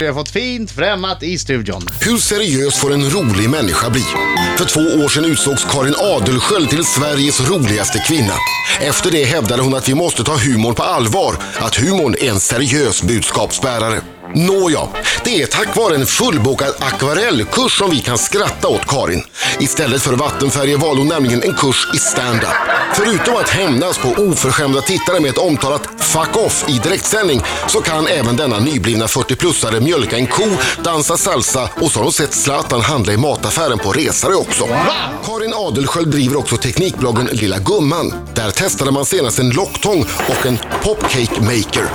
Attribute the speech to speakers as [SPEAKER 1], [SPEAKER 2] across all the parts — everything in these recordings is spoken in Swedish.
[SPEAKER 1] Vi har fått fint främmat i studion.
[SPEAKER 2] Hur seriös får en rolig människa bli? För två år sedan utsågs Karin Adelsköld till Sveriges roligaste kvinna. Efter det hävdade hon att vi måste ta humorn på allvar, att humorn är en seriös budskapsbärare. Nåja, det är tack vare en fullbokad akvarellkurs som vi kan skratta åt Karin. Istället för vattenfärger valde hon nämligen en kurs i stand-up. Förutom att hämnas på oförskämda tittare med ett omtalat “fuck off” i direktsändning så kan även denna nyblivna 40-plussare mjölka en ko, dansa salsa och så har hon sett Zlatan handla i mataffären på resare också. Karin Adelsköld driver också teknikbloggen Lilla Gumman. Där testade man senast en locktång och en popcake maker.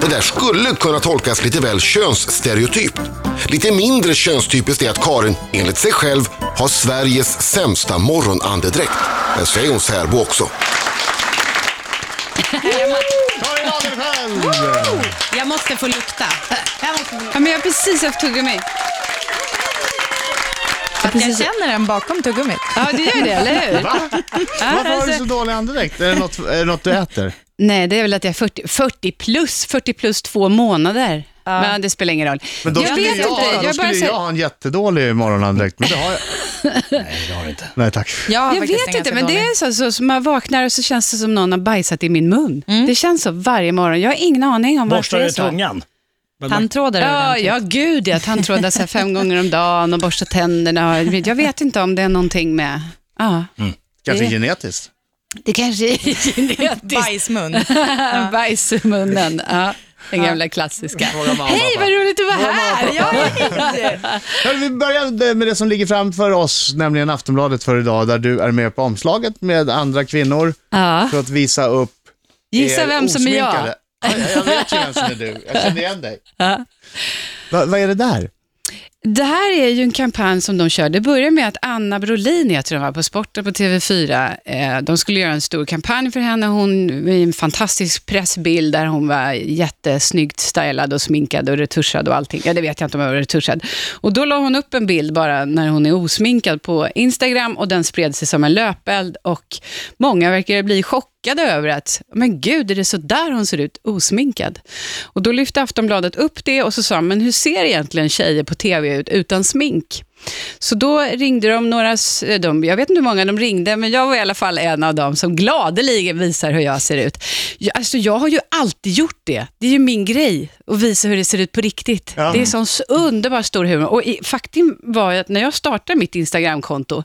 [SPEAKER 2] Det där skulle kunna tolkas lite väl könsstereotypt. Lite mindre könstypiskt är att Karin, enligt sig själv, har Sveriges sämsta morgonandedräkt. Men så är hon särbo också.
[SPEAKER 1] Karin Adelsköld!
[SPEAKER 3] Jag måste få lukta.
[SPEAKER 4] Ja, men jag har precis haft tuggummi.
[SPEAKER 3] För att jag känner den bakom tuggummit.
[SPEAKER 4] Ja, du gör det, eller hur?
[SPEAKER 1] Va? Varför har du
[SPEAKER 4] alltså-
[SPEAKER 1] så dålig andedräkt? Är det något, är det något du äter?
[SPEAKER 4] Nej, det är väl att jag är 40, 40 plus, 40 plus två månader. Men det spelar ingen roll.
[SPEAKER 1] Men då
[SPEAKER 4] jag
[SPEAKER 1] skulle, jag, då
[SPEAKER 4] jag, bara
[SPEAKER 1] skulle jag
[SPEAKER 4] säger-
[SPEAKER 1] ha en jättedålig morgonandedräkt, men det har jag. Nej, det har du inte. Nej, tack.
[SPEAKER 3] har
[SPEAKER 4] jag
[SPEAKER 3] faktiskt en
[SPEAKER 4] vet inte,
[SPEAKER 3] ganska
[SPEAKER 4] men det
[SPEAKER 3] dålig.
[SPEAKER 4] är så, så, så man vaknar och så känns det som någon har bajsat i min mun. Det känns så varje morgon. Jag har ingen aning om varför
[SPEAKER 5] Borstar
[SPEAKER 4] det
[SPEAKER 5] du
[SPEAKER 4] är så.
[SPEAKER 5] tungan? Men man-
[SPEAKER 3] Tandtrådar är
[SPEAKER 4] Ja,
[SPEAKER 3] ordentligt.
[SPEAKER 4] ja, gud ja. Tandtrådar så här fem gånger om dagen och borstar tänderna. Jag vet inte om det är någonting med... Ja,
[SPEAKER 1] Kanske genetiskt.
[SPEAKER 4] det kanske är genetiskt.
[SPEAKER 3] Bajsmun.
[SPEAKER 4] Bajs i munnen. Ja, den gamla klassiska.
[SPEAKER 1] Fråga mamma,
[SPEAKER 4] Hej,
[SPEAKER 1] pappa.
[SPEAKER 4] vad roligt att vara här! Ja,
[SPEAKER 1] Hörru, Vi börjar med det som ligger framför oss, nämligen Aftonbladet för idag, där du är med på omslaget med andra kvinnor
[SPEAKER 4] Ja.
[SPEAKER 1] för att visa upp
[SPEAKER 4] Gissa
[SPEAKER 1] er
[SPEAKER 4] vem som är jag.
[SPEAKER 1] osminkade. Ja, Jag jag vet ju vem som är du, jag känner igen dig. Va, vad är det där?
[SPEAKER 4] Det här är ju en kampanj som de kör. Det börjar med att Anna Brolin, jag tror hon var på Sporten på TV4, eh, de skulle göra en stor kampanj för henne. Hon i en fantastisk pressbild där hon var jättesnyggt stylad och sminkad och retuschad och allting. Ja, det vet jag inte om jag var retuschad. Och då la hon upp en bild bara när hon är osminkad på Instagram och den spred sig som en löpeld och många verkar bli chockade chockade över att, men gud, är det så där hon ser ut osminkad? Och då lyfte Aftonbladet upp det och så sa, men hur ser egentligen tjejer på TV ut utan smink? Så då ringde de några, s- eh, de, jag vet inte hur många de ringde, men jag var i alla fall en av dem som gladeligen visar hur jag ser ut. Jag, alltså jag har ju alltid gjort det. Det är ju min grej att visa hur det ser ut på riktigt.
[SPEAKER 1] Ja.
[SPEAKER 4] Det är sån s- underbar stor humor. Och i, faktum var ju att när jag startade mitt Instagramkonto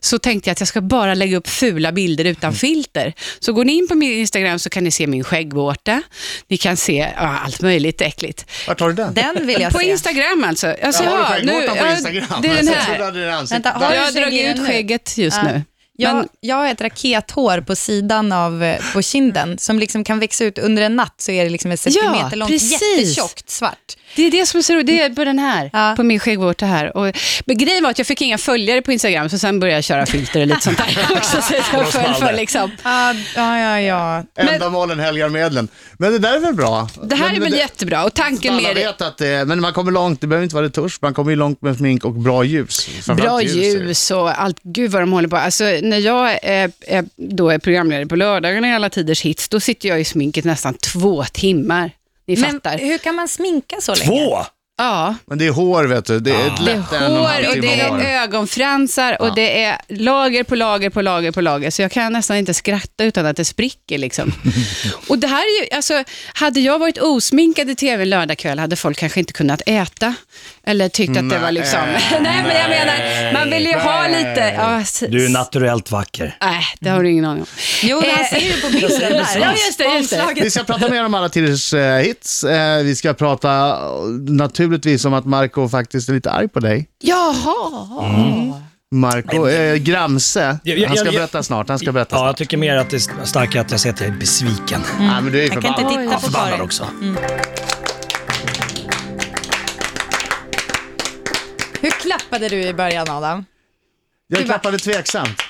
[SPEAKER 4] så tänkte jag att jag ska bara lägga upp fula bilder utan filter. Så går ni in på min Instagram så kan ni se min skäggvårta. Ni kan se ja, allt möjligt äckligt.
[SPEAKER 1] Vart har du den?
[SPEAKER 3] Den vill jag
[SPEAKER 4] På
[SPEAKER 3] se.
[SPEAKER 4] Instagram alltså. alltså
[SPEAKER 1] Jag har
[SPEAKER 4] ja,
[SPEAKER 1] du skäggvårtan på
[SPEAKER 4] ja,
[SPEAKER 1] Instagram?
[SPEAKER 4] Det är den
[SPEAKER 1] Jag trodde du
[SPEAKER 4] här.
[SPEAKER 1] hade den i ansiktet.
[SPEAKER 3] Vänta, har
[SPEAKER 1] Där.
[SPEAKER 4] Jag har
[SPEAKER 3] du skägg i
[SPEAKER 4] dragit
[SPEAKER 3] den
[SPEAKER 4] ut
[SPEAKER 3] nu?
[SPEAKER 4] skägget just
[SPEAKER 3] Ja.
[SPEAKER 4] nu.
[SPEAKER 3] Jag,
[SPEAKER 4] Men-
[SPEAKER 3] jag har ett rakethår på sidan av, eh, på kinden som liksom kan växa ut under en natt så är det liksom ett
[SPEAKER 4] Ja,
[SPEAKER 3] centimeter långt
[SPEAKER 4] precis.
[SPEAKER 3] jättetjockt svart.
[SPEAKER 4] Det är det som är så roligt. Det är på den här,
[SPEAKER 3] Ja.
[SPEAKER 4] på min skäggvårta här. Och, men grejen var att jag fick inga följare på Instagram, så sen började jag köra filter och lite sånt där också. Så att jag föll för liksom.
[SPEAKER 3] Ja, ja, ja, ja.
[SPEAKER 1] Ändamålen helgar medlen. Men det där är väl bra?
[SPEAKER 4] Det här är väl jättebra och tanken
[SPEAKER 1] Alla
[SPEAKER 4] med det,
[SPEAKER 1] vet att det, men man kommer långt, det behöver inte vara retusch, man kommer ju långt med smink och bra ljus.
[SPEAKER 4] Bra
[SPEAKER 1] Framförallt är det.
[SPEAKER 4] ljus och allt, gud vad de håller på. Alltså, när jag är, är, då är programledare på lördagarna i alla tiders hits, då sitter jag i sminket nästan två timmar. Ni
[SPEAKER 3] Men
[SPEAKER 4] fattar.
[SPEAKER 3] hur kan man sminka så länge?
[SPEAKER 5] Två?
[SPEAKER 4] Ja.
[SPEAKER 1] Men det är hår vet du, det är ett
[SPEAKER 4] Det är
[SPEAKER 1] lätt en och en halv
[SPEAKER 4] hår och
[SPEAKER 1] timme
[SPEAKER 4] det
[SPEAKER 1] hår.
[SPEAKER 4] är ögonfransar och det är lager på lager på lager på lager. Så jag kan nästan inte skratta utan att det spricker. Liksom. och det här är ju, alltså, hade jag varit osminkad i tv en lördagkväll hade folk kanske inte kunnat äta. Eller tyckt att det var liksom... Nej, men jag menar, man vill ju ha
[SPEAKER 3] Eh,
[SPEAKER 4] lite... Ja, s-
[SPEAKER 5] Du är naturellt vacker.
[SPEAKER 4] Nej, det har du ingen aning om.
[SPEAKER 3] Jo,
[SPEAKER 4] Eh,
[SPEAKER 3] han ser ju på bilden där.
[SPEAKER 4] Ja, just det, just det.
[SPEAKER 1] Vi ska prata mer om alla tiders eh, hits. Eh, vi ska prata eh, naturligtvis om att Marco faktiskt är lite arg på dig.
[SPEAKER 4] Jaha.
[SPEAKER 1] Marco, eh, Gramse,
[SPEAKER 5] Jag- jag-
[SPEAKER 1] han ska
[SPEAKER 5] jag-
[SPEAKER 1] berätta snart. Han ska berätta
[SPEAKER 5] Ja, jag
[SPEAKER 1] snart.
[SPEAKER 5] tycker mer att det är starkare att jag säger att jag är besviken.
[SPEAKER 4] Mm.
[SPEAKER 1] Nej, men du är ju
[SPEAKER 3] Mm. Jag kan inte
[SPEAKER 1] förbannad.
[SPEAKER 3] titta på
[SPEAKER 5] Förbannad
[SPEAKER 3] Karin.
[SPEAKER 5] också.
[SPEAKER 3] Hur klappade du i början, Adam?
[SPEAKER 1] Jag klappade tveksamt.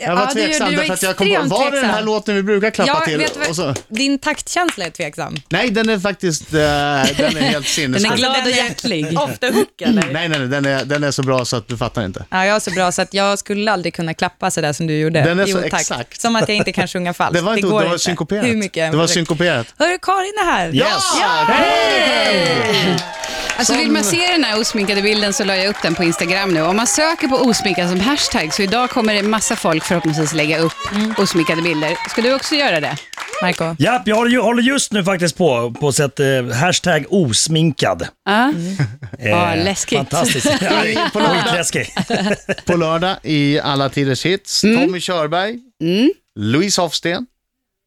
[SPEAKER 1] Jag var tveksam därför att jag kom på, var det den här låten vi brukar klappa
[SPEAKER 3] ja,
[SPEAKER 1] till?
[SPEAKER 3] Vet du vad,
[SPEAKER 1] Och så,
[SPEAKER 3] Din taktkänsla är tveksam.
[SPEAKER 1] nej, den är faktiskt, eh, den är helt sinnessjuk.
[SPEAKER 6] Alltså,
[SPEAKER 3] glad
[SPEAKER 6] den
[SPEAKER 3] och
[SPEAKER 6] är
[SPEAKER 3] hjärtlig.
[SPEAKER 6] Ofta hook eller?
[SPEAKER 1] Nej, nej, nej, den är, den är så bra så att du fattar inte.
[SPEAKER 3] Ja, jag är så bra så att jag skulle aldrig kunna klappa så där som du gjorde.
[SPEAKER 1] Den är
[SPEAKER 3] i
[SPEAKER 1] så
[SPEAKER 3] otakt.
[SPEAKER 1] exakt.
[SPEAKER 3] Som att jag inte kan sjunga falskt.
[SPEAKER 1] Det var inte, det,
[SPEAKER 3] går
[SPEAKER 1] var synkoperat.
[SPEAKER 3] Hur mycket jag än
[SPEAKER 1] det var
[SPEAKER 3] försöker.
[SPEAKER 1] synkoperat.
[SPEAKER 3] Hörru, Karin är här.
[SPEAKER 1] Yes!
[SPEAKER 4] Alltså vill man se den här osminkade bilden så la jag upp den på Instagram nu. Om man söker på osminkad som hashtag så idag kommer det massa folk förhoppningsvis lägga upp osminkade bilder. Ska du också göra det?
[SPEAKER 3] Marco.
[SPEAKER 5] Japp, jag håller ju- håller just nu faktiskt på på sätt eh, hashtag osminkad.
[SPEAKER 4] Ja.
[SPEAKER 5] Eh,
[SPEAKER 4] läskigt.
[SPEAKER 5] Fantastiskt. Ja, det är Skitläskigt.
[SPEAKER 1] På lördag i alla tiders hits, Tommy Körberg, Louise Hofsten,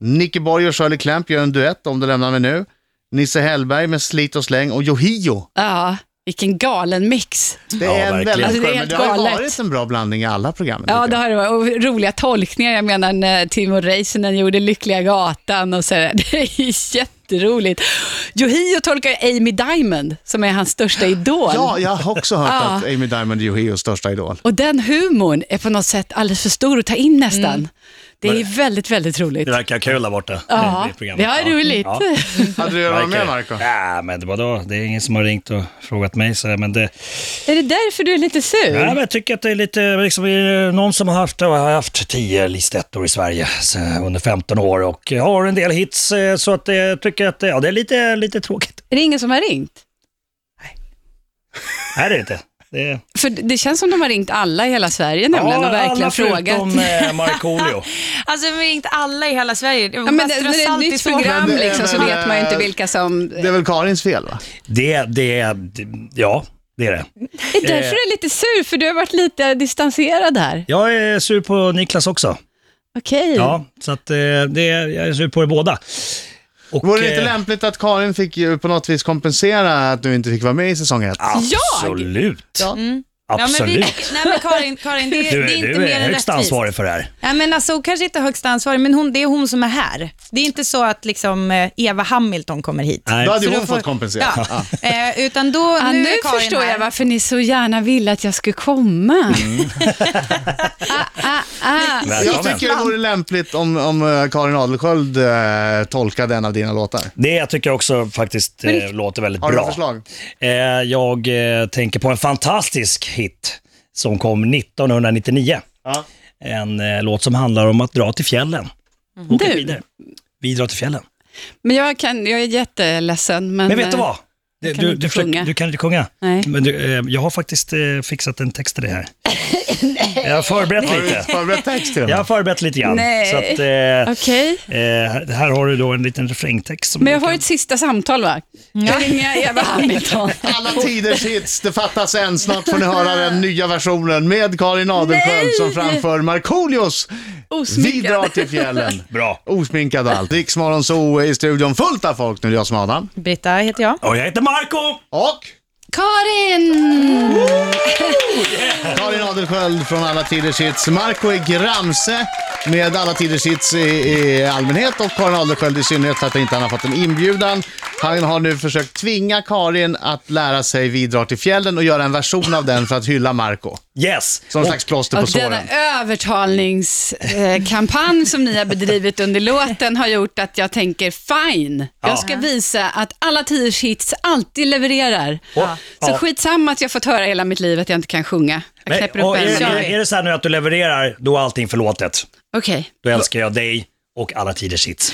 [SPEAKER 1] Nicke Borg och Shirley Clamp gör en duett om du lämnar mig nu. Nisse Hellberg med Slit och släng och Yohio.
[SPEAKER 4] Ja, vilken galen mix.
[SPEAKER 1] Det
[SPEAKER 5] Ja,
[SPEAKER 1] är en
[SPEAKER 5] verkligen.
[SPEAKER 1] väldigt
[SPEAKER 4] Alltså, det är
[SPEAKER 1] skön, men
[SPEAKER 4] helt
[SPEAKER 1] det har ju
[SPEAKER 4] galet.
[SPEAKER 1] varit en bra blandning i alla programmen.
[SPEAKER 4] Ja,
[SPEAKER 1] tycker
[SPEAKER 4] det
[SPEAKER 1] jag.
[SPEAKER 4] har det varit. Och roliga tolkningar. Jag menar när Timo Räisänen gjorde Lyckliga gatan och sådär. Det är jätteroligt. Yohio tolkar Amy Diamond, som är hans största idol.
[SPEAKER 1] Ja, jag har också hört
[SPEAKER 4] Ja.
[SPEAKER 1] att Amy Diamond är Yohios största idol.
[SPEAKER 4] Och den humorn är på något sätt alldeles för stor att ta in nästan. Det är väldigt, väldigt roligt.
[SPEAKER 5] Det verkar kul där borta.
[SPEAKER 4] Ja,
[SPEAKER 5] programmet.
[SPEAKER 4] det är roligt.
[SPEAKER 5] Ja.
[SPEAKER 1] Hade du gjort med
[SPEAKER 5] Verkar-
[SPEAKER 1] Marco?
[SPEAKER 5] Ja, men vadå? Det är ingen som har ringt och frågat mig. Så, här, men det,
[SPEAKER 4] Är det därför du är lite sur?
[SPEAKER 5] ja, men jag tycker att det är lite, liksom, eh, någon som har haft, har haft tio listettor i Sverige så, under 15 år och har en del hits. eh, Så att eh, jag tycker att eh, ja, det är lite, lite tråkigt.
[SPEAKER 4] Är det ingen som har ringt?
[SPEAKER 5] Nej, det är det inte. Det är,
[SPEAKER 4] För det känns som de har ringt alla i hela Sverige nämligen och verkligen
[SPEAKER 5] alla
[SPEAKER 4] frågat.
[SPEAKER 5] förutom eh, Markoolio.
[SPEAKER 6] Alltså vi har ringt alla i hela Sverige. Det var
[SPEAKER 4] Ja,
[SPEAKER 6] bara
[SPEAKER 4] men när
[SPEAKER 6] strö
[SPEAKER 4] det är ett
[SPEAKER 6] salt i
[SPEAKER 4] nytt
[SPEAKER 6] såren.
[SPEAKER 4] program
[SPEAKER 1] Men det är
[SPEAKER 4] liksom, så
[SPEAKER 1] väl,
[SPEAKER 4] vet man ju inte
[SPEAKER 1] eh,
[SPEAKER 4] vilka som...
[SPEAKER 1] Det är väl Karins fel va?
[SPEAKER 5] Det, det, det, ja, det är det.
[SPEAKER 4] Det är därför du är lite sur, för du har varit lite distanserad här.
[SPEAKER 5] Jag är sur på Niklas också.
[SPEAKER 4] Okej.
[SPEAKER 5] Ja, så att, eh, det, jag är sur på er båda. Och,
[SPEAKER 1] Vore det inte
[SPEAKER 5] eh,
[SPEAKER 1] lämpligt att Karin fick ju på något vis kompensera att du inte fick vara med i säsong 1?
[SPEAKER 5] Absolut.
[SPEAKER 1] Ja.
[SPEAKER 6] Ja, men vi,
[SPEAKER 5] Absolut.
[SPEAKER 6] nej men Karin, Karin det,
[SPEAKER 5] Du,
[SPEAKER 6] det är
[SPEAKER 5] är-
[SPEAKER 6] inte
[SPEAKER 5] du
[SPEAKER 6] mer än
[SPEAKER 5] är högst
[SPEAKER 6] rättvist.
[SPEAKER 5] ansvarig för det här.
[SPEAKER 6] Ja, men alltså, hon kanske inte är högst ansvarig, men hon, det är hon som är här. Det är inte så att liksom, eh, Eva Hamilton kommer hit.
[SPEAKER 5] Nej.
[SPEAKER 1] Då hade
[SPEAKER 6] Så
[SPEAKER 1] ju
[SPEAKER 6] då
[SPEAKER 1] hon
[SPEAKER 6] får-
[SPEAKER 1] fått kompensera.
[SPEAKER 6] Ja.
[SPEAKER 1] Ja.
[SPEAKER 6] Eh, utan då,
[SPEAKER 4] Ja,
[SPEAKER 6] nu,
[SPEAKER 4] nu
[SPEAKER 6] är Karin
[SPEAKER 4] förstår
[SPEAKER 6] här.
[SPEAKER 4] jag varför ni så gärna ville att jag skulle komma.
[SPEAKER 5] Mm.
[SPEAKER 4] ah, ah, ah.
[SPEAKER 1] Jag
[SPEAKER 5] Välkommen.
[SPEAKER 1] tycker det vore lämpligt om, om eh, Karin Adelsköld eh, tolkade en av dina låtar.
[SPEAKER 5] Det tycker jag också faktiskt eh, låter väldigt
[SPEAKER 1] Har du några
[SPEAKER 5] bra.
[SPEAKER 1] förslag?
[SPEAKER 5] Eh, jag eh, tänker på en fantastisk hit som kom 1999.
[SPEAKER 1] Ja.
[SPEAKER 5] En eh, låt som handlar om att dra till fjällen. Åka
[SPEAKER 4] Mhm. Du.
[SPEAKER 5] skidor. Vi drar till fjällen.
[SPEAKER 4] Men jag, kan, jag är jätteledsen. Men, eh,
[SPEAKER 5] Men vet du vad? Du,
[SPEAKER 4] kan
[SPEAKER 5] du,
[SPEAKER 4] inte
[SPEAKER 5] du, försöker-
[SPEAKER 4] sjunga.
[SPEAKER 5] du kan inte sjunga.
[SPEAKER 4] Nej.
[SPEAKER 5] Men du, eh, jag har faktiskt eh, fixat en text till dig här. Jag har förberett
[SPEAKER 1] Har du
[SPEAKER 5] lite.
[SPEAKER 1] förberett text till den?
[SPEAKER 5] Jag har förberett lite grann.
[SPEAKER 4] Nej.
[SPEAKER 5] Så att, eh,
[SPEAKER 4] Okej.
[SPEAKER 5] eh, här har du då en liten refrängtext. Som
[SPEAKER 4] Men jag
[SPEAKER 5] du
[SPEAKER 4] har
[SPEAKER 5] kan-
[SPEAKER 4] ett sista samtal, va? Jag ringer Eva Hamilton.
[SPEAKER 1] Alla tiders hits, det fattas en. Snart får ni höra den nya versionen med Karin Adelsköld som framför Markoolios Vi
[SPEAKER 4] Osminkad.
[SPEAKER 1] drar till fjällen.
[SPEAKER 5] Bra.
[SPEAKER 1] Osminkad och allt. Riksmorgon så E i studion fullt av folk nu. Jag som Adam.
[SPEAKER 6] Britta heter jag.
[SPEAKER 5] Och jag heter Marco
[SPEAKER 1] Och
[SPEAKER 4] Karin!
[SPEAKER 1] Karin Adelsköld från Alla Tiders Hits. Marco är gramse med Alla Tiders Hits i, i allmänhet och Karin Adelsköld i synnerhet för att inte han har fått en inbjudan. Han har nu försökt tvinga Karin att lära sig Vi drar till fjällen och göra en version av den för att hylla Marco.
[SPEAKER 5] Yes.
[SPEAKER 1] Som en slags plåster på
[SPEAKER 4] Och denna
[SPEAKER 1] såren.
[SPEAKER 4] övertalningskampanj som ni har bedrivit under låten har gjort att jag tänker fine, jag ska visa att alla tiers hits alltid levererar.
[SPEAKER 5] Ja.
[SPEAKER 4] Så
[SPEAKER 5] Ja.
[SPEAKER 4] skitsamma att jag fått höra hela mitt liv att jag inte kan sjunga. Jag
[SPEAKER 5] Men,
[SPEAKER 4] knäpper upp
[SPEAKER 5] och är,
[SPEAKER 4] en.
[SPEAKER 5] är, är det så här nu att du levererar, då är allting förlåtet.
[SPEAKER 4] Okej,
[SPEAKER 5] Då älskar jag dig och alla tiders hits.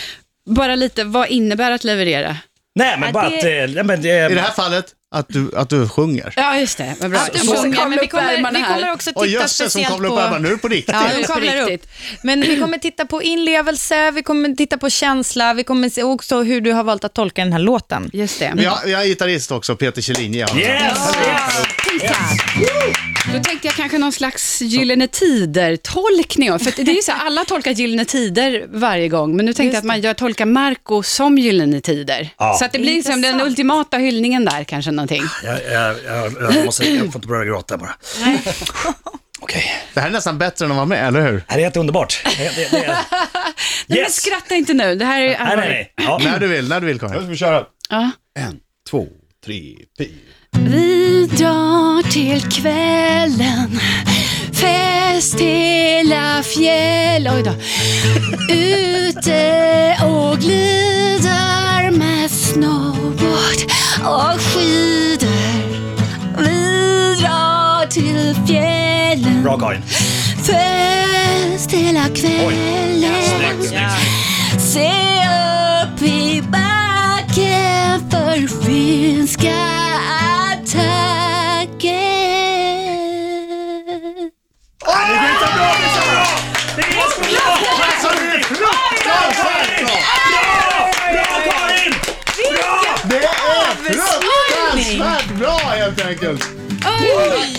[SPEAKER 4] bara lite, vad innebär att leverera?
[SPEAKER 5] Nej, men bara
[SPEAKER 6] det-
[SPEAKER 5] att... eh, Nej, men, det,
[SPEAKER 1] I det här fallet, att du, att du sjunger.
[SPEAKER 4] Ja, just det, vad bra.
[SPEAKER 6] Att du
[SPEAKER 4] Jag måste
[SPEAKER 6] sjunger,
[SPEAKER 4] kavla
[SPEAKER 6] men vi
[SPEAKER 4] upp ärmarna
[SPEAKER 6] kommer, vi
[SPEAKER 4] här.
[SPEAKER 6] kommer också
[SPEAKER 1] Och
[SPEAKER 6] titta
[SPEAKER 1] jösses, hon
[SPEAKER 6] speciellt
[SPEAKER 1] kavlar
[SPEAKER 6] på...
[SPEAKER 1] upp ärmarna nu på riktigt.
[SPEAKER 6] Ja,
[SPEAKER 4] det
[SPEAKER 6] de
[SPEAKER 4] är på
[SPEAKER 6] kavlar upp.
[SPEAKER 4] riktigt.
[SPEAKER 6] Men vi kommer titta på inlevelse, vi kommer titta på känsla, vi kommer se också hur du har valt att tolka den här låten.
[SPEAKER 4] Just det.
[SPEAKER 1] Men jag, jag är gitarrist också, Peter Kjellin. Ja.
[SPEAKER 5] Yes! yes.
[SPEAKER 4] Då tänkte jag kanske någon slags Gyllene Tider-tolkning. av- För att det är ju så här, alla tolkar Gyllene Tider varje gång, men nu tänkte jag att man gör, tolkar Marco som Gyllene Tider.
[SPEAKER 5] Ja.
[SPEAKER 4] Så att det blir som den ultimata hyllningen där, kanske någonting.
[SPEAKER 5] Jag, jag, jag, jag, måste, jag får inte börja gråta bara. Okej.
[SPEAKER 1] Det här är nästan bättre än att vara med, eller hur?
[SPEAKER 5] Det här är helt underbart. Det, det, det.
[SPEAKER 4] Nej, men
[SPEAKER 5] Yes.
[SPEAKER 4] skratta inte nu, det här är
[SPEAKER 5] Nej, nej,
[SPEAKER 4] allvarligt.
[SPEAKER 5] nej. Ja.
[SPEAKER 1] När du vill, när du vill Karin.
[SPEAKER 2] ska vi köra.
[SPEAKER 4] Ja.
[SPEAKER 2] En, två, tre, fyra.
[SPEAKER 4] Vi drar till kvällen, Väst hela fjäll... Oj då. Ute och glider med snowboard och skidor. Vi drar till fjällen.
[SPEAKER 5] Bra Karin.
[SPEAKER 4] Fest hela
[SPEAKER 5] Snyggt,
[SPEAKER 4] kvällen.
[SPEAKER 5] snyggt.
[SPEAKER 4] Se upp i backen för finska attacken.
[SPEAKER 5] Det är så bra, det är så bra! Det är så bra!
[SPEAKER 1] Alltså, det är fruktansvärt bra!
[SPEAKER 5] Bra Karin! Bra!
[SPEAKER 1] Det är fruktansvärt bra helt enkelt!
[SPEAKER 4] Oj,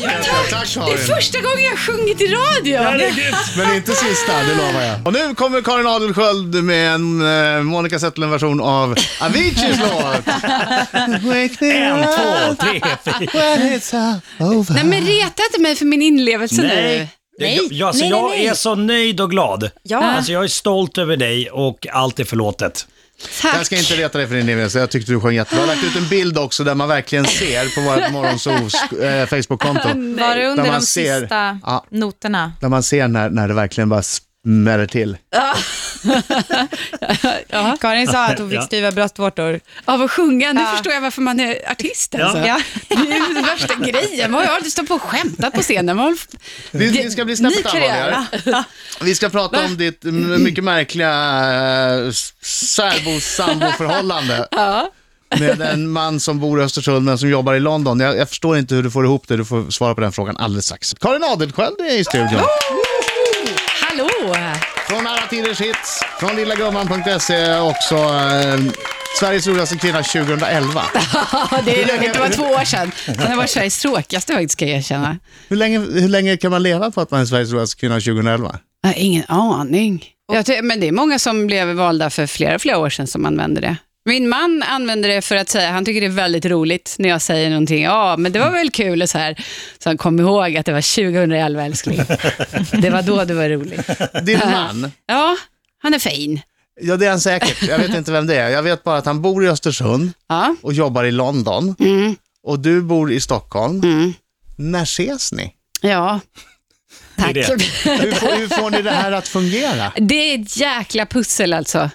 [SPEAKER 1] Tack
[SPEAKER 4] det är
[SPEAKER 1] Karin!
[SPEAKER 4] första gången jag sjungit i radio.
[SPEAKER 5] Herregud!
[SPEAKER 1] Men det är inte sista, det lovar jag. Och nu kommer Karin Adelsköld med en eh, Monica Zetterlund-version av Aviciis låt.
[SPEAKER 5] En, två, tre, fyra.
[SPEAKER 4] Nej men reta inte mig för min inlevelse nu.
[SPEAKER 5] Nej. Jag, jag, alltså,
[SPEAKER 6] Nej, nej,
[SPEAKER 5] jag
[SPEAKER 6] nej.
[SPEAKER 5] är så nöjd och glad.
[SPEAKER 6] Ja.
[SPEAKER 5] Alltså, jag är stolt över dig och allt är förlåtet.
[SPEAKER 1] Jag
[SPEAKER 4] Tack.
[SPEAKER 1] ska inte reta dig för din inlevelse, jag tyckte du sjöng jättebra. Jag har lagt ut en bild också där man verkligen ser på vårt morgonsols eh, Facebook-konto.
[SPEAKER 6] Var det under
[SPEAKER 1] Där man
[SPEAKER 6] de
[SPEAKER 1] ser-
[SPEAKER 6] sista
[SPEAKER 1] Ja.
[SPEAKER 6] noterna?
[SPEAKER 1] Där man ser när, när det verkligen bara smäller till.
[SPEAKER 6] Karin sa att hon fick
[SPEAKER 5] Ja.
[SPEAKER 6] styva bröstvårtor.
[SPEAKER 4] Av att sjunga, nu
[SPEAKER 6] Ja.
[SPEAKER 4] förstår jag varför man är artist alltså.
[SPEAKER 5] Ja.
[SPEAKER 4] Ja. Det är ju den värsta grejen. Man har ju aldrig stått på och skämtat på scenen. Man
[SPEAKER 1] Vi, vi ska bli snäppet
[SPEAKER 4] Ny karriär.
[SPEAKER 1] allvarligare. Vi ska prata om ditt m- mycket märkliga eh, s- särbo-sambo-förhållande. Med en man som bor i Östersund men som jobbar i London. Jag, jag förstår inte hur du får ihop det, du får svara på den frågan alldeles strax. Karin Adelsköld är i studion.
[SPEAKER 4] Hallå!
[SPEAKER 1] Från alla tiders hits, från lillagumman.se också. Eh, Sveriges roligaste kvinna 2011.
[SPEAKER 4] Ja, det är roligt. Det var två år sedan. Den har varit Sveriges tråkigaste faktiskt, ska jag erkänna.
[SPEAKER 1] Hur länge, hur länge kan man leva på att man är Sveriges roligaste kvinna 2011?
[SPEAKER 4] Jag har ingen aning. Jag ty- men det är många som blev valda för flera, flera år sedan som använder det. Min man använder det för att säga, han tycker det är väldigt roligt när jag säger någonting, ja men det var väl kul och så här. Så han kom ihåg att det var 2011 älskling. det var då det var roligt.
[SPEAKER 1] Din man,
[SPEAKER 4] Ja, han är fin.
[SPEAKER 1] ja det är han säkert. Jag vet inte vem det är. Jag vet bara att han bor i Östersund
[SPEAKER 4] Ja.
[SPEAKER 1] och jobbar i London.
[SPEAKER 4] Mm.
[SPEAKER 1] Och du bor i Stockholm. När ses ni?
[SPEAKER 4] Ja. Tack.
[SPEAKER 5] Det är det.
[SPEAKER 1] Hur, får- hur får ni det här att fungera?
[SPEAKER 4] Det är ett jäkla pussel alltså.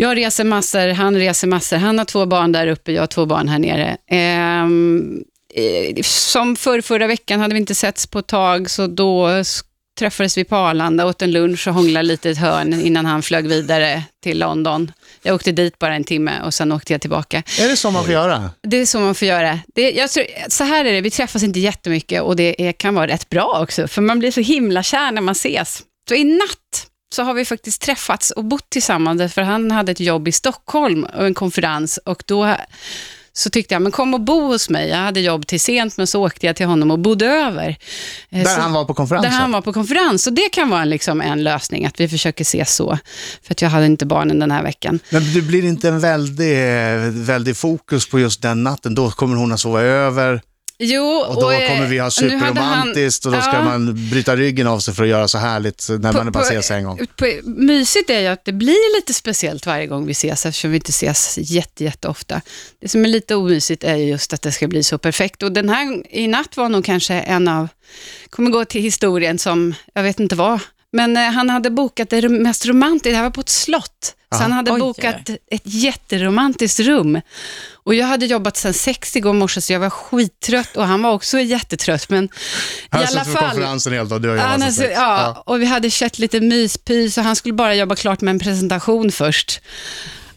[SPEAKER 4] Jag reser massor, han reser massor. Han har två barn där uppe, jag har två barn här nere. Ehm, eh, som för förra veckan hade vi inte setts på ett tag, så då s- träffades vi på Arlanda, åt en lunch och hånglade lite i ett hörn innan han flög vidare till London. Jag åkte dit bara en timme och sen åkte jag tillbaka.
[SPEAKER 1] Är det så man får göra?
[SPEAKER 4] Det är så man får göra. Det, jag tror, så här är det, vi träffas inte jättemycket och det är, kan vara rätt bra också, för man blir så himla kär när man ses. Så i natt så har vi faktiskt träffats och bott tillsammans, för han hade ett jobb i Stockholm och en konferens och då så tyckte jag, men kom och bo hos mig. Jag hade jobb till sent, men så åkte jag till honom och bodde över. Eh,
[SPEAKER 1] Där
[SPEAKER 4] så-
[SPEAKER 1] han var på konferensen?
[SPEAKER 4] där han var på konferens. Och det kan vara en, liksom, en lösning, att vi försöker ses så. För att jag hade inte barnen den här veckan.
[SPEAKER 1] Men det blir inte en väldig, väldig fokus på just den natten. Då kommer hon att sova över.
[SPEAKER 4] Jo,
[SPEAKER 1] Och då
[SPEAKER 4] eh,
[SPEAKER 1] kommer vi ha
[SPEAKER 4] nu hade han-
[SPEAKER 1] superromantiskt och då ska
[SPEAKER 4] Ja.
[SPEAKER 1] man bryta ryggen av sig för att göra så härligt när man bara ses en gång.
[SPEAKER 4] På, mysigt är ju att det blir lite speciellt varje gång vi ses, eftersom vi inte ses jätte, jätteofta. Det som är lite omysigt är ju just att det ska bli så perfekt. Och den här i natt var nog kanske en av, kommer gå till historien som, jag vet inte vad, men eh, han hade bokat det rom- mest romantiska, det här var på ett slott, så han hade
[SPEAKER 6] Oj.
[SPEAKER 4] bokat ett jätteromantiskt rum. Och jag hade jobbat sedan sex igår morse, så jag var skittrött och han var också jättetrött, men
[SPEAKER 1] Han
[SPEAKER 4] i
[SPEAKER 1] har
[SPEAKER 4] alla
[SPEAKER 1] suttit på
[SPEAKER 4] fall.
[SPEAKER 1] konferensen hela dagen, du och jag.
[SPEAKER 4] Han
[SPEAKER 1] har
[SPEAKER 4] har,
[SPEAKER 1] suttit.
[SPEAKER 4] ja, och vi hade kört lite myspys och han skulle bara jobba klart med en presentation först.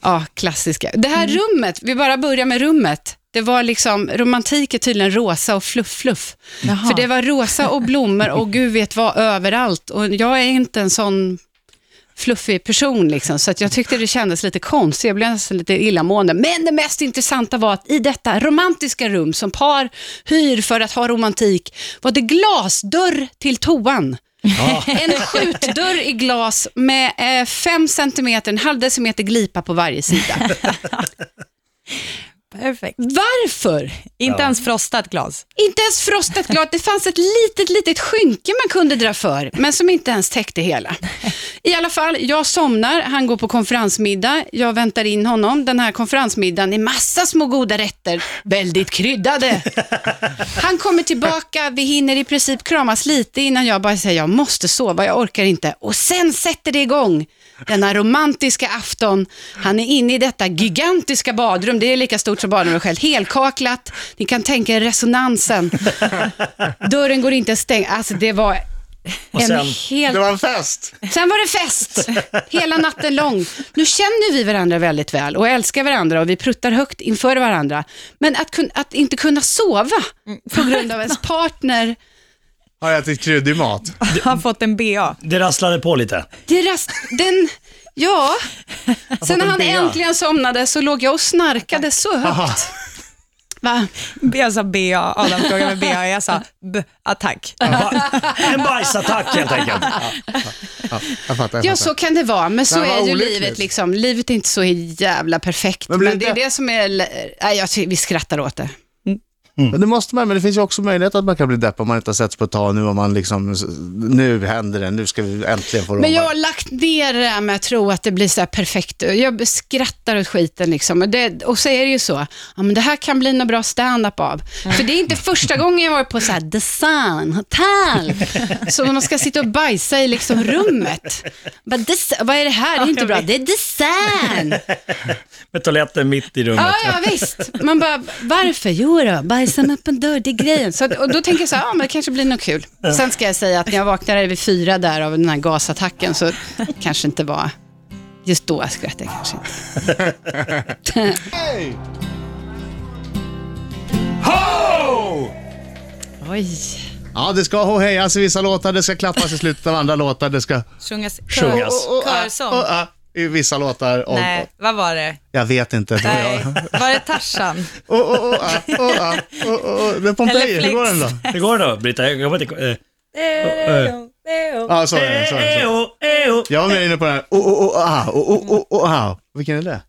[SPEAKER 4] Ja, klassiska. Det här rummet, vi bara börjar med rummet. Det var liksom, romantik är tydligen rosa och fluff-fluff. För det var rosa och blommor och gud vet vad överallt. Och jag är inte en sån fluffig person liksom, så att jag tyckte det kändes lite konstigt, jag blev nästan lite illamående. Men det mest intressanta var att i detta romantiska rum som par hyr för att ha romantik, var det glasdörr till toan. En skjutdörr i glas med eh, fem centimeter, en halv decimeter glipa på varje sida.
[SPEAKER 6] Perfekt.
[SPEAKER 4] Varför?
[SPEAKER 6] Inte ens frostat glas.
[SPEAKER 4] Inte ens frostat glas. Det fanns ett litet, litet skynke man kunde dra för, men som inte ens täckte hela. I alla fall, jag somnar, han går på konferensmiddag, jag väntar in honom. Den här konferensmiddagen är massa små goda rätter, väldigt kryddade. Han kommer tillbaka, vi hinner i princip kramas lite innan jag bara säger jag måste sova, jag orkar inte. Och sen sätter det igång. Denna romantiska afton. Han är inne i detta gigantiska badrum. Det är lika stort som badrummet själv. Helkaklat. Ni kan tänka er resonansen. Dörren går inte att stänga. Alltså det var en
[SPEAKER 5] sen-
[SPEAKER 4] helt...
[SPEAKER 1] Det var en fest.
[SPEAKER 4] Sen var det fest hela natten lång. Nu känner vi varandra väldigt väl och älskar varandra och vi pruttar högt inför varandra. Men att, kun, att inte kunna sova på grund av ens partner,
[SPEAKER 1] Har jag ätit kryddig mat?
[SPEAKER 6] Har fått en BA.
[SPEAKER 5] Det rasslade på lite.
[SPEAKER 4] det rast, den, ja. Sen när
[SPEAKER 1] en
[SPEAKER 4] han
[SPEAKER 1] bea.
[SPEAKER 4] äntligen somnade så låg jag och snarkade så högt. Va?
[SPEAKER 6] Jag sa BA, Adam frågade mig BA, jag sa B-attack.
[SPEAKER 5] En bajsattack helt enkelt.
[SPEAKER 1] Ja, jag fattar. Jag
[SPEAKER 4] Ja,
[SPEAKER 1] fattar.
[SPEAKER 4] så kan det vara, men så
[SPEAKER 1] Men vad
[SPEAKER 4] är ju
[SPEAKER 1] olyckligt.
[SPEAKER 4] livet. Liksom. Livet är inte så jävla perfekt,
[SPEAKER 1] Men
[SPEAKER 4] men,
[SPEAKER 1] blir
[SPEAKER 4] det är
[SPEAKER 1] inte-
[SPEAKER 4] det som är... Nej, jag, tycker- vi skrattar åt det.
[SPEAKER 1] Men det måste man, men det finns ju också möjlighet att man kan bli depp om man inte har setts på ett tag. Nu, om man liksom, nu händer det, nu ska vi äntligen få
[SPEAKER 4] Men
[SPEAKER 1] roma.
[SPEAKER 4] jag har lagt ner det här med att tro att det blir så här perfekt. Jag skrattar åt skiten liksom. Och, det, och så är det ju så. Ja, men det här kan bli något bra stand-up av. För det är inte första gången jag varit på så här design, hotell. Så man ska sitta och bajsa i liksom rummet. Bara, "Des- Vad är det här? Det är inte bra. Det är design.
[SPEAKER 5] Med toaletten mitt i rummet.
[SPEAKER 4] Ja, ja visst. Man bara, varför? Jo då, bajsa med öppen dörr, det är grejen. Så, att- och då tänker jag så här, ja men det kanske blir något kul. Sen ska jag säga att när jag vaknade vid fyra där av den här gasattacken så kanske inte var, just då skrattade jag kanske inte. Oj.
[SPEAKER 1] Ja, det ska hohejas i vissa låtar, det ska klappas i slutet av andra låtar, det ska...
[SPEAKER 6] Sjungas.
[SPEAKER 5] Sjungas.
[SPEAKER 6] Kör- Körsång.
[SPEAKER 1] Och, och, ah, I vissa låtar. Och,
[SPEAKER 6] Nej, vad var det?
[SPEAKER 1] jag vet inte. Det var
[SPEAKER 6] Nej.
[SPEAKER 1] jag.
[SPEAKER 6] Var det Tarzan?
[SPEAKER 1] Oh, oh, oh, ah, oh, ah, oh, oh, oh. Det är Pompeji,
[SPEAKER 6] Eller
[SPEAKER 1] hur går den då?
[SPEAKER 5] Hur går det då, Britta? Jag kommer inte... eh,
[SPEAKER 1] Ja, så är det, så är det, så är det.
[SPEAKER 5] eh, oh, eh, oh.
[SPEAKER 1] Jag var mer inne på den här. Oh, oh, oh, ah, oh, oh, oh, oh, ah. Vilken är det?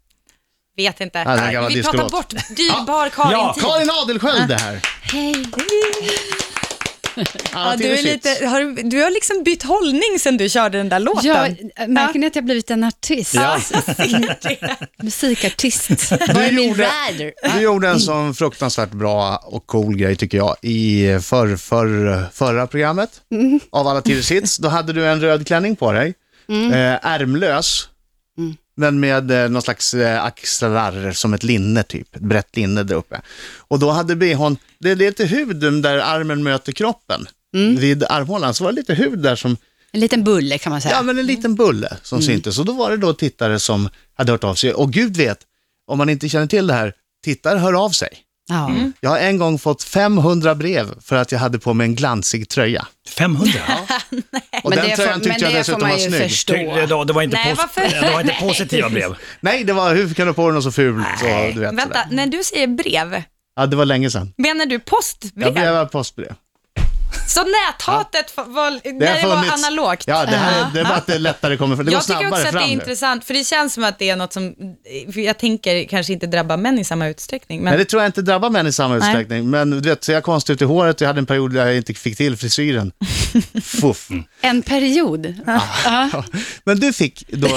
[SPEAKER 6] Vet inte.
[SPEAKER 1] det är en gammal
[SPEAKER 6] Vi pratar
[SPEAKER 1] discolåt.
[SPEAKER 6] bort dyrbar Karin
[SPEAKER 5] Ja,
[SPEAKER 6] tid.
[SPEAKER 1] Karin Adelsköld det här.
[SPEAKER 4] Hej.
[SPEAKER 1] Alla
[SPEAKER 6] Ah, Ja, du, är
[SPEAKER 1] tiders hits.
[SPEAKER 6] lite, har, du- du har liksom bytt hållning sen du körde den där låten.
[SPEAKER 4] Jag, märker ni att jag blivit en artist?
[SPEAKER 5] Ja.
[SPEAKER 4] Musikartist. Vad är min
[SPEAKER 1] gjorde-
[SPEAKER 4] värld?
[SPEAKER 1] Du gjorde en sån fruktansvärt bra och cool grej tycker jag i för, för, förra programmet
[SPEAKER 4] Mm.
[SPEAKER 1] av alla tiders hits. Då hade du en röd klänning på dig,
[SPEAKER 4] Mm.
[SPEAKER 1] eh, ärmlös, men med eh, någon slags eh, axlar som ett linne typ, ett brett linne där uppe. Och då hade bhn, det är lite hud där armen möter kroppen.
[SPEAKER 4] Mm.
[SPEAKER 1] Vid armhålan så var det lite hud där som,
[SPEAKER 4] En liten bulle kan man säga.
[SPEAKER 1] ja men en liten bulle som
[SPEAKER 6] Mm.
[SPEAKER 1] syntes. Och då var det då tittare som hade hört av sig. Och gud vet, om man inte känner till det här, tittare hör av sig.
[SPEAKER 4] Ja.
[SPEAKER 1] Jag har en gång fått 500 brev för att jag hade på mig en glansig tröja.
[SPEAKER 5] 500?
[SPEAKER 1] Och
[SPEAKER 4] Men
[SPEAKER 1] den
[SPEAKER 4] det får-
[SPEAKER 1] tröjan
[SPEAKER 4] men
[SPEAKER 1] tyckte jag
[SPEAKER 4] det
[SPEAKER 1] dessutom
[SPEAKER 4] får man
[SPEAKER 1] var
[SPEAKER 4] ju
[SPEAKER 1] snygg.
[SPEAKER 4] förstå.
[SPEAKER 5] Det, det, det, var inte
[SPEAKER 6] Nej,
[SPEAKER 5] posi-
[SPEAKER 6] varför?
[SPEAKER 5] det var inte positiva brev.
[SPEAKER 1] Nej, det var hur kan du på dig något så fult? Så, du vet,
[SPEAKER 6] Vänta,
[SPEAKER 1] sådär.
[SPEAKER 6] när du säger brev,
[SPEAKER 1] Ja, det var länge sedan.
[SPEAKER 6] menar du postbrev?
[SPEAKER 1] Jag blev postbrev.
[SPEAKER 6] Så näthatet f- var, när det
[SPEAKER 1] har
[SPEAKER 6] var
[SPEAKER 1] funnits-
[SPEAKER 6] analogt?
[SPEAKER 1] Ja, det, här, det är bara att det är lättare kommer fram. Det går
[SPEAKER 6] jag tycker
[SPEAKER 1] snabbare
[SPEAKER 6] också att det är
[SPEAKER 1] fram nu.
[SPEAKER 6] intressant, för det känns som att det är något som, för jag tänker kanske inte drabbar män i samma utsträckning. Men
[SPEAKER 1] Nej, det tror jag inte drabbar män i samma utsträckning. Men du vet, ser jag konstigt ut i håret? Jag hade en period där jag inte fick till frisyren. Fuff.
[SPEAKER 4] En period. Ja.
[SPEAKER 1] Men du fick då,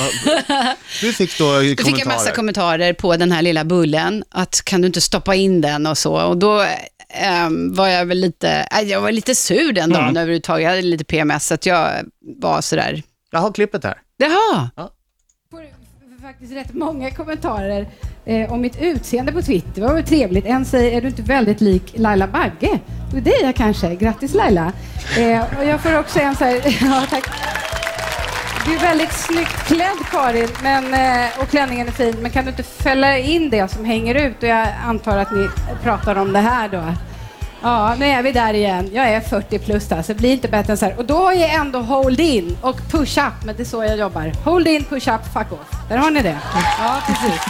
[SPEAKER 1] du fick då
[SPEAKER 4] Då
[SPEAKER 1] kommentarer.
[SPEAKER 4] fick jag massa kommentarer på den här lilla bullen, att kan du inte stoppa in den och så. Och då ehm, var jag väl lite, äh, jag var lite sur den dagen överhuvudtaget. Jag hade lite PMS, så att jag var sådär,
[SPEAKER 1] jag har klippet här.
[SPEAKER 4] jaha.
[SPEAKER 7] får faktiskt rätt många kommentarer eh, om mitt utseende på Twitter. Det var väl trevligt. En säger, är du inte väldigt lik Laila Bagge? Och det är jag kanske. Grattis Laila. Eh, och jag får också en så här, ja tack. Du är väldigt snyggt klädd Karin men, eh, och klänningen är fin, men kan du inte fälla in det som hänger ut? Och jag antar att ni pratar om det här då. Ja, nu är vi där igen. Jag är 40 plus alltså, det blir inte bättre än så här. Och då har jag ändå hold in och push up, men det är så jag jobbar. Hold in, push up, fuck off. Där har ni det. Ja, precis.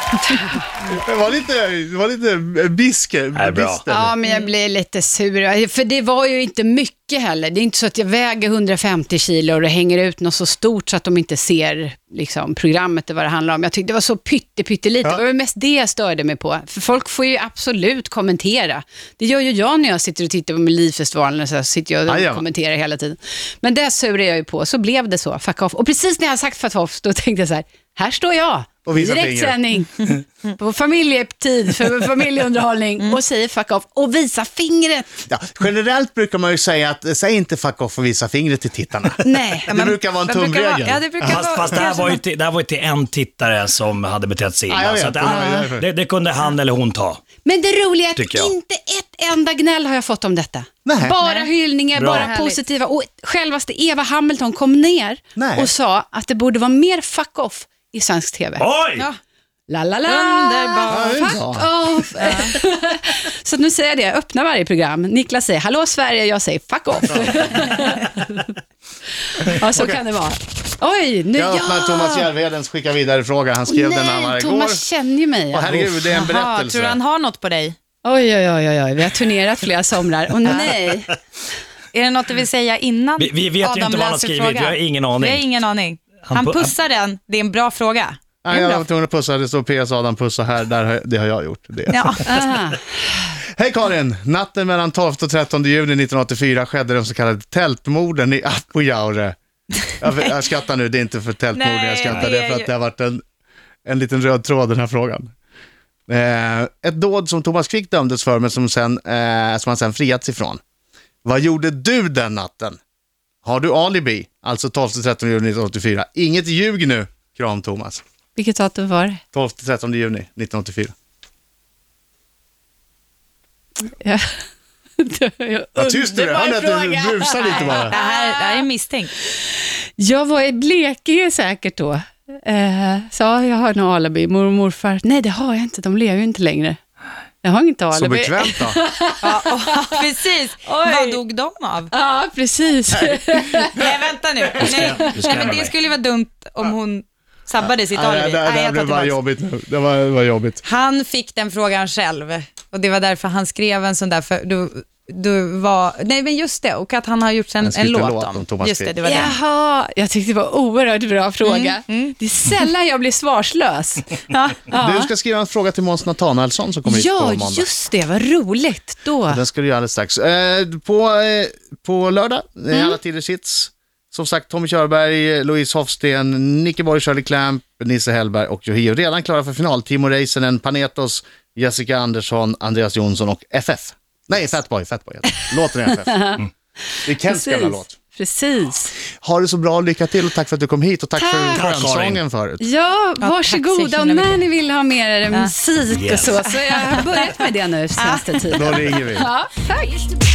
[SPEAKER 1] Det var lite, det var lite biske,
[SPEAKER 5] är bra.
[SPEAKER 1] bister.
[SPEAKER 4] Ja, men jag blev lite sur. För det var ju inte mycket mycket heller. Det är inte så att jag väger 150 kilo och det hänger ut något så stort så att de inte ser liksom, programmet och vad det handlar om. Jag tyckte det var så pytte, pyttelite.
[SPEAKER 1] Ja.
[SPEAKER 4] Det var mest det jag störde mig på. För folk får ju absolut kommentera. Det gör ju jag när jag sitter och tittar på Melodifestivalen. och Så här sitter jag och
[SPEAKER 1] Ajamän.
[SPEAKER 4] kommenterar hela tiden. Men det surade jag ju på. Så blev det så. Fuck off. Och precis när jag sagt fuck off, då tänkte jag så här. Här står jag.
[SPEAKER 1] Och visar
[SPEAKER 4] Direktsändning på familjetid för familjeunderhållning och säger fuck off och visar fingret.
[SPEAKER 1] Ja, generellt brukar man ju säga att eh, säg inte fuck off och visa fingret till tittarna.
[SPEAKER 4] Nej.
[SPEAKER 1] Det brukar vara en
[SPEAKER 3] Det brukar vara-
[SPEAKER 1] tumregel.
[SPEAKER 3] Ja, det brukar
[SPEAKER 5] Fast,
[SPEAKER 3] vara...
[SPEAKER 5] fast det, här
[SPEAKER 3] kanske
[SPEAKER 5] var ju
[SPEAKER 3] man-
[SPEAKER 5] till, det här var ju till en tittare som hade betett sig
[SPEAKER 1] Ja, jag
[SPEAKER 5] illa.
[SPEAKER 1] vet.
[SPEAKER 5] Så att,
[SPEAKER 1] Det var ju
[SPEAKER 5] ah,
[SPEAKER 1] därför.
[SPEAKER 5] det, det kunde han eller hon ta.
[SPEAKER 4] Men det roliga är att
[SPEAKER 5] Tycker jag.
[SPEAKER 4] inte ett enda gnäll har jag fått om detta.
[SPEAKER 1] Nej.
[SPEAKER 4] Bara hyllningar,
[SPEAKER 5] Bra.
[SPEAKER 4] bara
[SPEAKER 5] Härligt.
[SPEAKER 4] positiva. Och självaste Eva Hamilton kom ner
[SPEAKER 1] Nej.
[SPEAKER 4] och sa att det borde vara mer fuck off i svensk TV.
[SPEAKER 5] Oj!
[SPEAKER 4] La, la, la.
[SPEAKER 3] Underbart.
[SPEAKER 1] Ja, det är
[SPEAKER 4] Fuck
[SPEAKER 1] bra.
[SPEAKER 4] off. Så att nu säger jag det, jag öppnar varje program. Niklas säger hallå Sverige, jag säger fuck off. ja, så kan det vara. Oj, nu
[SPEAKER 1] Jag öppnar Thomas Järvhedens skicka vidare-fråga. Han skrev den när han var
[SPEAKER 4] Nej,
[SPEAKER 1] igår.
[SPEAKER 4] Thomas känner ju mig.
[SPEAKER 1] Och herregud, det är en
[SPEAKER 6] Jaha,
[SPEAKER 1] berättelse.
[SPEAKER 6] tror du han har något på dig?
[SPEAKER 4] Oj, oj, oj, oj, oj, vi har turnerat flera somrar. Och nej.
[SPEAKER 6] Är det något du vill säga innan
[SPEAKER 5] Vi- vi vet ju
[SPEAKER 6] Adam
[SPEAKER 5] inte vad han har
[SPEAKER 6] läser
[SPEAKER 5] skrivit.
[SPEAKER 6] frågan?
[SPEAKER 5] Vi har ingen
[SPEAKER 6] Vi
[SPEAKER 5] aning.
[SPEAKER 6] har ingen aning. Han,
[SPEAKER 5] pu-
[SPEAKER 6] pussar den, det är en bra fråga.
[SPEAKER 1] Nej, jag var tvungen att pussa. Det står PS Adam pussa här. Där, har jag- det har jag gjort. Det.
[SPEAKER 6] Ja.
[SPEAKER 4] Ah.
[SPEAKER 1] Hej Karin! Natten mellan 12 och 13 juni 1984 skedde de så kallade tältmorden i Apojaure. Jag, jag skrattar nu, det är inte för tältmorden
[SPEAKER 6] Nej,
[SPEAKER 1] jag skrattar,
[SPEAKER 6] det
[SPEAKER 1] det
[SPEAKER 6] är
[SPEAKER 1] är för
[SPEAKER 6] ju-
[SPEAKER 1] att det har varit en, en liten röd tråd i den här frågan. Eh, ett dåd som Thomas Quick dömdes för, men som, sen, eh, som han sen friats ifrån. Vad gjorde du den natten? Har du alibi? Alltså 12 till 13 juni 1984. Inget ljug nu. Kram Thomas.
[SPEAKER 4] Vilket datum var det?
[SPEAKER 1] 12 till 13 juni 1984.
[SPEAKER 4] Ja.
[SPEAKER 1] Ja, tyst nu,
[SPEAKER 4] Underbar
[SPEAKER 1] hör ni att
[SPEAKER 4] fråga.
[SPEAKER 1] du busar lite bara?
[SPEAKER 6] Det, här, det här är misstänkt.
[SPEAKER 4] Jag var i Blekinge säkert då. Eh, sa jag har nog alibi, mormor och morfar. Nej, det har jag inte, de lever ju inte längre. Jag har inget alibi.
[SPEAKER 1] Så bekvämt då.
[SPEAKER 6] Ja, och, precis. Vad dog de av?
[SPEAKER 4] Ja, precis.
[SPEAKER 6] Nej, vänta nu. Nej,
[SPEAKER 5] du skrämmer
[SPEAKER 6] men det
[SPEAKER 5] mig.
[SPEAKER 6] skulle ju vara dumt om hon sabbade sitt
[SPEAKER 1] Nej,
[SPEAKER 6] alibi.
[SPEAKER 1] det, det,
[SPEAKER 6] Nej,
[SPEAKER 1] det
[SPEAKER 6] jag tar
[SPEAKER 1] blev bara
[SPEAKER 6] tillbaks.
[SPEAKER 1] jobbigt nu. Det var, det var jobbigt.
[SPEAKER 6] Han fick den frågan själv och det var därför han skrev en sån där, för du, du var, nej men just det, och att han har gjort en,
[SPEAKER 1] Han
[SPEAKER 6] en
[SPEAKER 1] skrev en
[SPEAKER 6] låt
[SPEAKER 1] låt
[SPEAKER 6] om.
[SPEAKER 1] om Thomas
[SPEAKER 6] just det,
[SPEAKER 1] Quick.
[SPEAKER 6] det var den.
[SPEAKER 4] Jaha, jag tyckte det var en oerhört bra fråga. Det är sällan jag blir svarslös. ja,
[SPEAKER 1] Du ska skriva en fråga till Måns Nathanaelsson som kommer hit på
[SPEAKER 4] ja
[SPEAKER 1] måndag.
[SPEAKER 4] just det, vad roligt. Då.
[SPEAKER 1] Den ska du göra alldeles strax. Eh, på, eh, på lördag, mm. alla tiders hits. Som sagt, Tommy Körberg, Louise Hofsten, Nicke Borg, Shirley Clamp, Nisse Hellberg och Yohio. Redan klara för final. Timo Räisänen, Panetos, Jessica Andersson, Andreas Jonsson och FF. Nej, Fatboy, Fatboy. heter det. Låten är FF. Det är Kents gamla låt.
[SPEAKER 4] precis.
[SPEAKER 1] Ha det så bra, lycka till och tack för att du kom hit och tack,
[SPEAKER 4] Tack.
[SPEAKER 1] för
[SPEAKER 5] Tack, Karin.
[SPEAKER 1] skönsången förut.
[SPEAKER 4] Ja,
[SPEAKER 6] Ja, tack så
[SPEAKER 4] varsågoda.
[SPEAKER 6] himla
[SPEAKER 4] Och när
[SPEAKER 6] mycket.
[SPEAKER 4] ni vill ha mer er musik
[SPEAKER 5] Yes.
[SPEAKER 4] och så, så jag har börjat med det nu senaste tiden.
[SPEAKER 1] Då ringer vi.
[SPEAKER 4] Ja, tack.
[SPEAKER 8] used to be